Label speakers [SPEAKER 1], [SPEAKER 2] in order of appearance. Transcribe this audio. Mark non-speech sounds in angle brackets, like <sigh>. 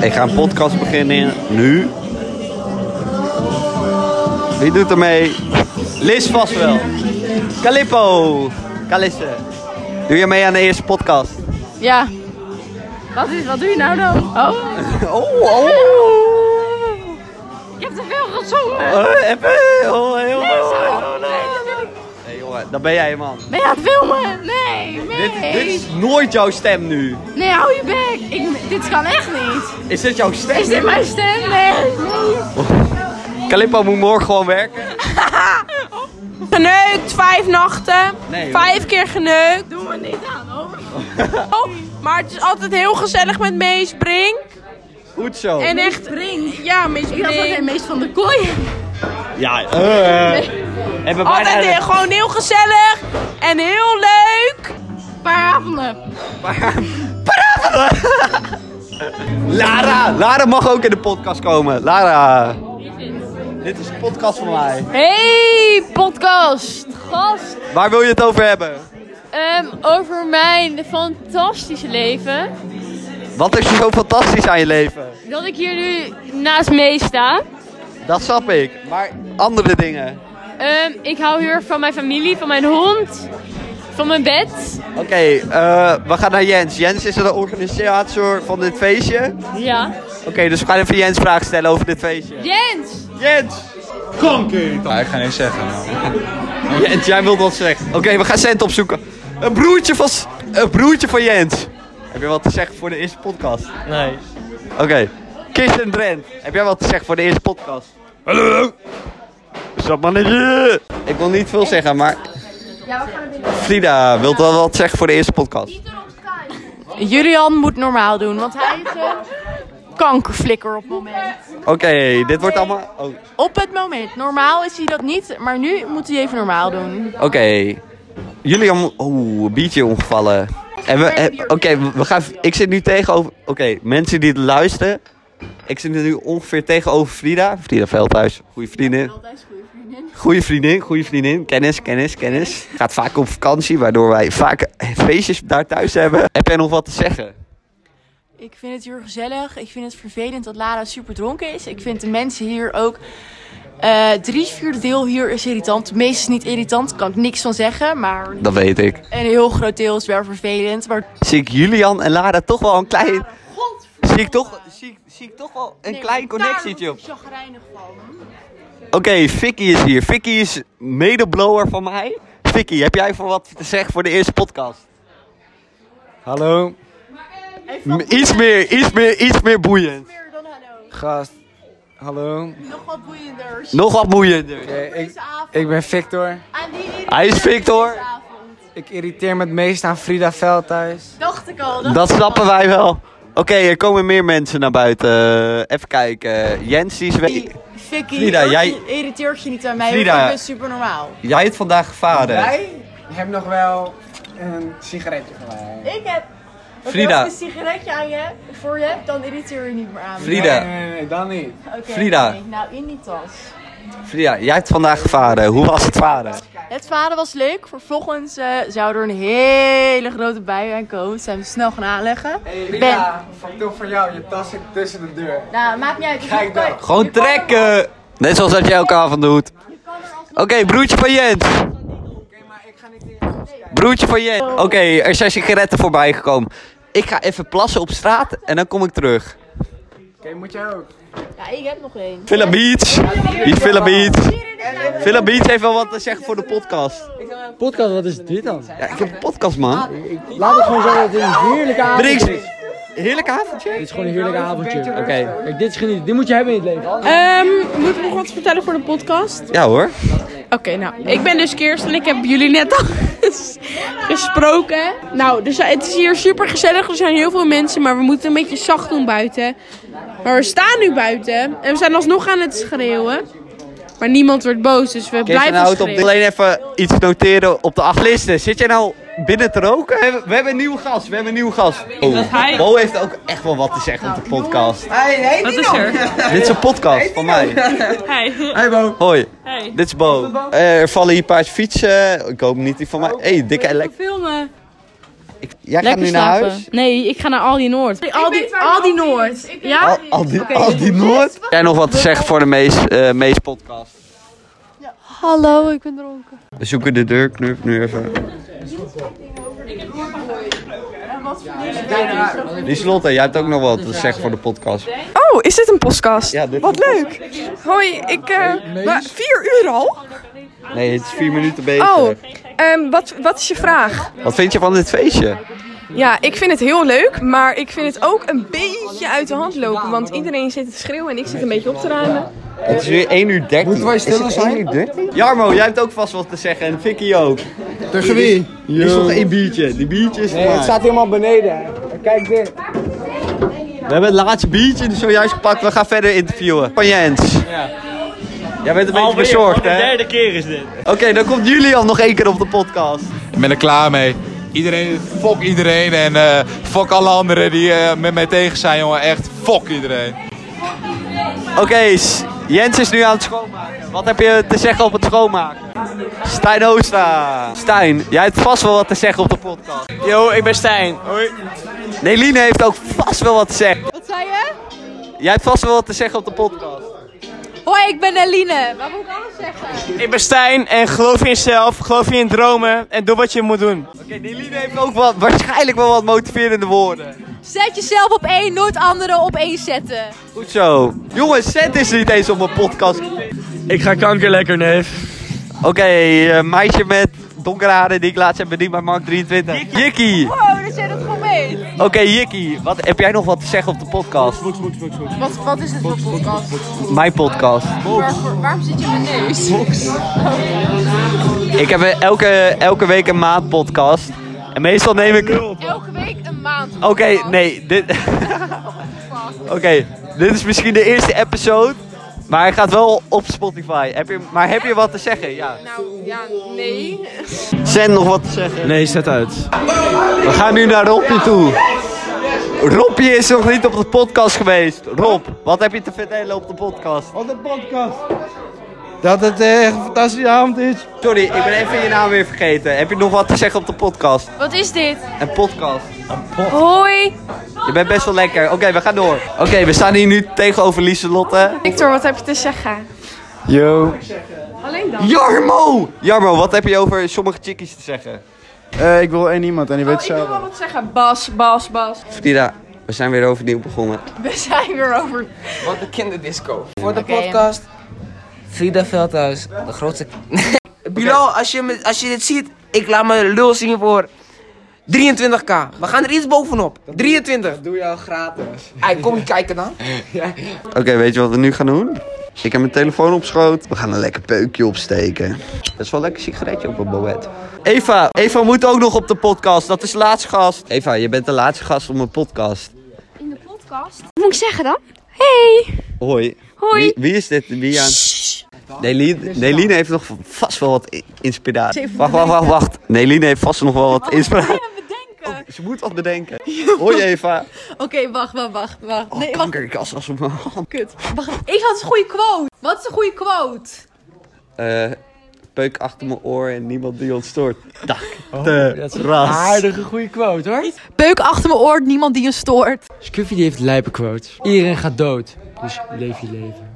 [SPEAKER 1] Ik ga een podcast beginnen. Nu. Wie doet er mee? Liz vast wel. Calippo. Calisse. Doe je mee aan de eerste podcast?
[SPEAKER 2] Ja. Wat, is, wat doe je nou dan? Oh,
[SPEAKER 1] Oh, oh.
[SPEAKER 2] je hebt te veel gezongen.
[SPEAKER 1] Eh, even. Oh, heel
[SPEAKER 2] Nee,
[SPEAKER 1] veel.
[SPEAKER 2] zo. Nee, dat doe ik.
[SPEAKER 1] Nee, jongen, dat ben jij, man.
[SPEAKER 2] Ben je aan het filmen? Nee, nee.
[SPEAKER 1] Dit, dit is nooit jouw stem nu.
[SPEAKER 2] Nee, hou je bek. Ik, dit kan echt niet.
[SPEAKER 1] Is dit jouw stem?
[SPEAKER 2] Is dit mijn stem? Nee.
[SPEAKER 1] Calippo moet morgen gewoon werken.
[SPEAKER 3] Geneukt, vijf nachten.
[SPEAKER 1] Nee, hoor.
[SPEAKER 3] vijf keer geneukt.
[SPEAKER 2] Doe me niet aan, hoor.
[SPEAKER 3] <laughs> Oh, maar het is altijd heel gezellig met Mees Brink.
[SPEAKER 1] Goed zo.
[SPEAKER 3] En echt,
[SPEAKER 2] Brink.
[SPEAKER 3] ja, Mees
[SPEAKER 2] Ik dacht dat hij
[SPEAKER 3] Brink.
[SPEAKER 2] meest van de kooi.
[SPEAKER 1] Ja, eh. En we
[SPEAKER 3] Altijd
[SPEAKER 1] bijna
[SPEAKER 3] heel, gewoon heel gezellig en heel leuk.
[SPEAKER 2] Een paar avonden.
[SPEAKER 1] <laughs> Lara, Lara mag ook in de podcast komen. Lara. Dit is een podcast van mij.
[SPEAKER 4] Hey, podcast! Gast,
[SPEAKER 1] Waar wil je het over hebben?
[SPEAKER 4] ehm, over mijn fantastische leven.
[SPEAKER 1] Wat is er zo fantastisch aan je leven?
[SPEAKER 4] Dat ik hier nu naast mee sta.
[SPEAKER 1] Dat snap ik. Maar andere dingen.
[SPEAKER 4] Ehm, ik hou heel erg van mijn familie, van mijn hond, van mijn bed.
[SPEAKER 1] Oké, eh, we gaan naar Jens. Jens is de organisator van dit feestje.
[SPEAKER 4] Ja.
[SPEAKER 1] Oké, dus we gaan even Jens vragen stellen over dit feestje.
[SPEAKER 4] Jens!
[SPEAKER 1] Jens!
[SPEAKER 5] Ja, ik ga niks zeggen.
[SPEAKER 1] <laughs>
[SPEAKER 5] Nou.
[SPEAKER 1] Jens, jij wilt wat zeggen. Oké, we gaan Cent opzoeken. Een broertje van, S- een broertje van Jens. Heb je wat te zeggen voor de eerste podcast? Nee. Oké. Kirsten en Drent, heb jij wat te zeggen voor de eerste podcast? Hallo! Zat mannetje! Ik wil niet veel zeggen, maar... Frida, wilt wel wat zeggen voor de eerste podcast?
[SPEAKER 3] Julian moet normaal doen, want hij is een kankerflikker op het moment.
[SPEAKER 1] Oké, dit wordt allemaal... Oh, Oké.
[SPEAKER 3] Op het moment. Normaal is hij dat niet, maar nu moet hij even normaal doen.
[SPEAKER 1] Jullie om... Oeh, een biertje omgevallen. En we... eh, Oké, we gaan... Ik zit nu tegenover... Oké, mensen die het luisteren... Ik zit nu ongeveer tegenover Frida. Frida Veldhuis. Goeie vriendin. Goeie vriendin, goeie vriendin. Kennis, kennis, kennis. Gaat vaak op vakantie, waardoor wij vaak eh, feestjes daar thuis hebben. Heb jij nog wat te zeggen?
[SPEAKER 3] Ik vind het hier gezellig. Ik vind het vervelend dat Lara super dronken is. Ik vind de mensen hier ook. eh drie vierde deel hier is irritant. Het meeste is niet irritant, kan ik niks van zeggen. Maar een
[SPEAKER 1] Dat weet ik.
[SPEAKER 3] heel groot deel is wel vervelend. Maar
[SPEAKER 1] Zie ik Julian en Lara toch wel een klein... Zie ik toch, zie, ik- zie ik toch wel een klein connectietje op.
[SPEAKER 3] Ik chagrijnig van.
[SPEAKER 1] Oké, Vicky is hier. Vicky is medeblower van mij. Vicky, heb jij voor wat te zeggen voor de eerste podcast?
[SPEAKER 5] Hallo,
[SPEAKER 1] M- Iets meer, iets meer, iets meer boeiend.
[SPEAKER 3] Meer dan hallo.
[SPEAKER 5] gast. Hallo.
[SPEAKER 3] Nog wat boeiender.
[SPEAKER 1] Nog wat boeiender.
[SPEAKER 5] Eh, ik, ik ben Victor.
[SPEAKER 3] Aan Ah, die
[SPEAKER 1] Hij is Victor.
[SPEAKER 3] avond.
[SPEAKER 5] Ik irriteer me het meest aan Frida Veldhuis.
[SPEAKER 3] Dacht ik al.
[SPEAKER 1] Dat snappen wij wel. Oké, er komen meer mensen naar buiten. Even kijken. Jens die is weg.
[SPEAKER 3] Vicky,
[SPEAKER 1] Frida,
[SPEAKER 3] ook
[SPEAKER 1] jij-
[SPEAKER 3] je- irriteert je niet aan mij.
[SPEAKER 1] Frida.
[SPEAKER 3] want Ik ben super normaal.
[SPEAKER 1] Jij hebt vandaag gevaren.
[SPEAKER 5] Jij hebt nog wel een sigaretje van mij.
[SPEAKER 3] Ik heb. Als
[SPEAKER 1] Frida.
[SPEAKER 3] ik een sigaretje aan je hebt, voor je hebt, dan irriteer je niet meer aan. me.
[SPEAKER 5] Nee,
[SPEAKER 1] Frida,
[SPEAKER 5] nee, nee, dan niet.
[SPEAKER 3] Oké,
[SPEAKER 1] Frida.
[SPEAKER 3] oké. Nou, in die tas.
[SPEAKER 1] Frida, jij hebt vandaag gevaren. Hoe was het varen?
[SPEAKER 3] Het varen was leuk. Vervolgens eh, zou er een hele grote bui aan komen. Dat zijn we snel gaan aanleggen.
[SPEAKER 5] Hey,
[SPEAKER 3] Frida,
[SPEAKER 5] factuur voor jou. Je tas zit tussen de deur.
[SPEAKER 3] Nou, maakt niet uit. Je
[SPEAKER 5] Kijk
[SPEAKER 3] kan-
[SPEAKER 5] dan.
[SPEAKER 1] Gewoon trekken. Net zoals dat jij elke avond doet. Oké, broertje van Jens. Broertje van Jens. Oké, er zijn sigaretten voorbij gekomen. Ik ga even plassen op straat en dan kom ik terug.
[SPEAKER 5] Oké, moet jij ook.
[SPEAKER 3] Ja, ik heb nog één.
[SPEAKER 1] Villa Beach. Hier is Villa Beach. Villa Beach heeft wel wat te zeggen voor de podcast.
[SPEAKER 6] Podcast, wat is dit dan?
[SPEAKER 1] Ja, ik heb een podcast, man.
[SPEAKER 6] Laat het gewoon zo dat het een heerlijke avond
[SPEAKER 1] Drinks.
[SPEAKER 6] is. Dit
[SPEAKER 1] Heerlijk avondje.
[SPEAKER 6] is gewoon een heerlijke avondje.
[SPEAKER 5] Oké.
[SPEAKER 6] Kijk, dit is genieten. Dit moet je hebben in het leven.
[SPEAKER 3] Ehm, moet ik nog wat vertellen voor de podcast?
[SPEAKER 1] Ja hoor.
[SPEAKER 3] Oké, nou, ik ben dus Kirsten. Ik heb jullie net al <laughs> gesproken. Nou, dus het is hier super gezellig. Er zijn heel veel mensen, maar we moeten een beetje zacht doen buiten. Maar we staan nu buiten en we zijn alsnog aan het schreeuwen. Maar niemand wordt boos, dus we
[SPEAKER 1] Kirsten
[SPEAKER 3] blijven
[SPEAKER 1] houdt op
[SPEAKER 3] schreeuwen.
[SPEAKER 1] alleen even iets noteren op de achtlisten. Zit jij nou binnen te roken? We hebben, we hebben een nieuw gast, we hebben een nieuw gast. Oh, Bo heeft ook echt wel wat te zeggen op de podcast.
[SPEAKER 7] Nou, Wat is
[SPEAKER 5] nou?
[SPEAKER 7] er?
[SPEAKER 5] <laughs>
[SPEAKER 1] Dit is een podcast van mij.
[SPEAKER 5] Hey Bo.
[SPEAKER 1] Hoi,
[SPEAKER 7] Hey.
[SPEAKER 1] dit is
[SPEAKER 7] Oh,
[SPEAKER 1] Bo. Eh, Er vallen hier een paar fietsen. Ik hoop niet die van mij. Hé, hey, dikke elek.
[SPEAKER 7] Filmen.
[SPEAKER 1] Ik- jij gaat
[SPEAKER 7] Lekker
[SPEAKER 1] nu naar
[SPEAKER 7] slapen.
[SPEAKER 1] huis?
[SPEAKER 7] Nee, ik ga naar Aldi Noord.
[SPEAKER 2] Al die, al die Noord. Ja?
[SPEAKER 1] Al, al die,
[SPEAKER 4] dus
[SPEAKER 1] al die Noord? Jij nog wat te zeggen voor de Mees, eh, Mees podcast?
[SPEAKER 4] Hallo, ik ben dronken.
[SPEAKER 1] We zoeken de deurknuf nu even. Lieselotte, jij hebt ook nog wat te zeggen voor de podcast.
[SPEAKER 8] Oh, is dit een podcast?
[SPEAKER 1] Ja, dit-
[SPEAKER 8] Wat leuk. Hoi, ik... eh maar vier uur al?
[SPEAKER 1] Nee, het is vier minuten bezig.
[SPEAKER 8] Oh, ehm, wat, wat is je vraag?
[SPEAKER 1] Wat vind je van dit feestje?
[SPEAKER 8] Ja, ik vind het heel leuk, maar ik vind het ook een beetje uit de hand lopen. Want iedereen zit te schreeuwen en ik zit een beetje op te ruimen.
[SPEAKER 1] Het is nu 1 uur 13. Moeten wij stil zijn? Jarmo, jij hebt ook vast wat te zeggen en Vicky ook.
[SPEAKER 9] Tegen wie?
[SPEAKER 1] Er is nog één biertje. Die biertje is voor
[SPEAKER 6] Nee,
[SPEAKER 1] mij.
[SPEAKER 6] het staat helemaal beneden. Kijk dit.
[SPEAKER 1] We hebben het laatste biertje zojuist gepakt. We gaan verder interviewen. Van Jens. Jij bent een beetje bezorgd, hè? de derde keer is dit. Oké, dan komt Julian nog één keer op de podcast.
[SPEAKER 9] Ik ben er klaar mee. Iedereen, fok iedereen en eh, fok alle anderen die eh, met mij tegen zijn, jongen. Echt, fok iedereen.
[SPEAKER 1] Oké, S- Jens is nu aan het schoonmaken. Wat heb je te zeggen op het schoonmaken? Stijn Oosta. Stijn, jij hebt vast wel wat te zeggen op de podcast.
[SPEAKER 10] Yo, ik ben Stijn. Hoi.
[SPEAKER 1] Neline heeft ook vast wel wat te zeggen. Wat zei je? Jij hebt vast wel wat te zeggen op de podcast.
[SPEAKER 2] Hoi, ik ben Eline. Wat moet ik anders zeggen?
[SPEAKER 10] Ik ben Stijn en geloof in jezelf, geloof in je dromen en doe wat je moet doen.
[SPEAKER 1] Oké, Neline heeft ook wat, waarschijnlijk wel wat motiverende woorden.
[SPEAKER 2] Zet jezelf op één, nooit anderen op één zetten.
[SPEAKER 1] Goed zo. Jongens, Zet is niet eens op mijn podcast.
[SPEAKER 10] Ik ga kanker lekker, neef.
[SPEAKER 1] Oké, eh, meisje met donkere haren die ik laatst heb bediend bij Mark 23. Jikkie.
[SPEAKER 3] Oh,
[SPEAKER 2] Wow, daar zit het goed mee.
[SPEAKER 1] Oké, Jikkie. Wat, heb jij nog wat te zeggen op de podcast?
[SPEAKER 3] Wat, wat is het voor podcast?
[SPEAKER 1] Mijn podcast.
[SPEAKER 3] Waar- waarom zit je in mijn neus? Oh.
[SPEAKER 1] Ik heb eh, elke, elke week een maand podcast. En meestal neem ik... Oké,
[SPEAKER 3] Elke week een maand.
[SPEAKER 1] nee, dit... <laughs> Oké, dit is misschien de eerste episode. Maar hij gaat wel op Spotify. Heb je, maar heb je wat te zeggen? Ja.
[SPEAKER 8] Nou, ja, nee.
[SPEAKER 1] Zijn nog wat te zeggen?
[SPEAKER 10] Nee, zet uit.
[SPEAKER 1] We gaan nu naar Robje toe. Robje is nog niet op de podcast geweest. Rob, wat heb je te vertellen op de podcast?
[SPEAKER 9] Wat een podcast. Dat het echt een fantastische avond is.
[SPEAKER 1] Sorry, ik ben even je naam weer vergeten. Heb je nog wat te zeggen op de podcast?
[SPEAKER 4] Wat is dit?
[SPEAKER 1] Een podcast.
[SPEAKER 4] Hoi.
[SPEAKER 1] Je bent best wel lekker. Oké, we gaan door. Oké, we staan hier nu tegenover Lieselotte.
[SPEAKER 8] Victor, wat heb je te zeggen?
[SPEAKER 10] Yo.
[SPEAKER 1] Jarmo! Jarmo, wat heb je over sommige chickies te zeggen?
[SPEAKER 10] Eh, ik wil één iemand en die
[SPEAKER 8] Oh, ik wil wel wat zeggen. Bas, Bas, Bas.
[SPEAKER 1] Frida, we zijn weer overnieuw begonnen.
[SPEAKER 8] We zijn weer over.
[SPEAKER 5] Wat een kinderdisco. Voor de podcast, Frida Veldhuis, de <laughs> grootste... Bilal, als je, me- als je dit ziet, ik laat mijn lul zien voor 23k. We gaan er iets bovenop. 23. Dat doe je al gratis. Hij kom je kijken dan.
[SPEAKER 1] Oké, weet je wat we nu gaan doen? Ik heb mijn telefoon op schoot. We gaan een lekker peukje opsteken. Dat is wel een lekker sigaretje op een boet. Eva, Eva moet ook nog op de podcast. Dat is de laatste gast. Eva, je bent de laatste gast op mijn podcast.
[SPEAKER 4] In de podcast. Wat moet ik zeggen dan? Hey.
[SPEAKER 1] Hoi.
[SPEAKER 4] Hoi.
[SPEAKER 1] Wie, wie is dit? Wie aan... Neline, Neline heeft nog vast wel wat i- inspiratie. Wacht, wacht, wacht, wacht. Neline heeft vast nog wel wat inspiratie. Ze moet wat
[SPEAKER 4] <laughs>
[SPEAKER 1] bedenken. Hoi Eva.
[SPEAKER 2] Oké, wacht, wacht, wacht. wacht.
[SPEAKER 1] Oh,
[SPEAKER 2] nee, wacht,
[SPEAKER 1] kanker, ik was als op mijn hand.
[SPEAKER 2] kut. Wacht, ik had een goede quote. Wat is een goede quote?
[SPEAKER 1] Eh, peuk achter mijn oor en niemand die ons stoort. Dak. de ras.
[SPEAKER 6] Aardige goede quote hoor.
[SPEAKER 2] Beuk achter mijn oor, niemand die je stoort.
[SPEAKER 6] Scuffy die heeft lijpe quotes. Iedereen gaat dood. Dus leef je leven.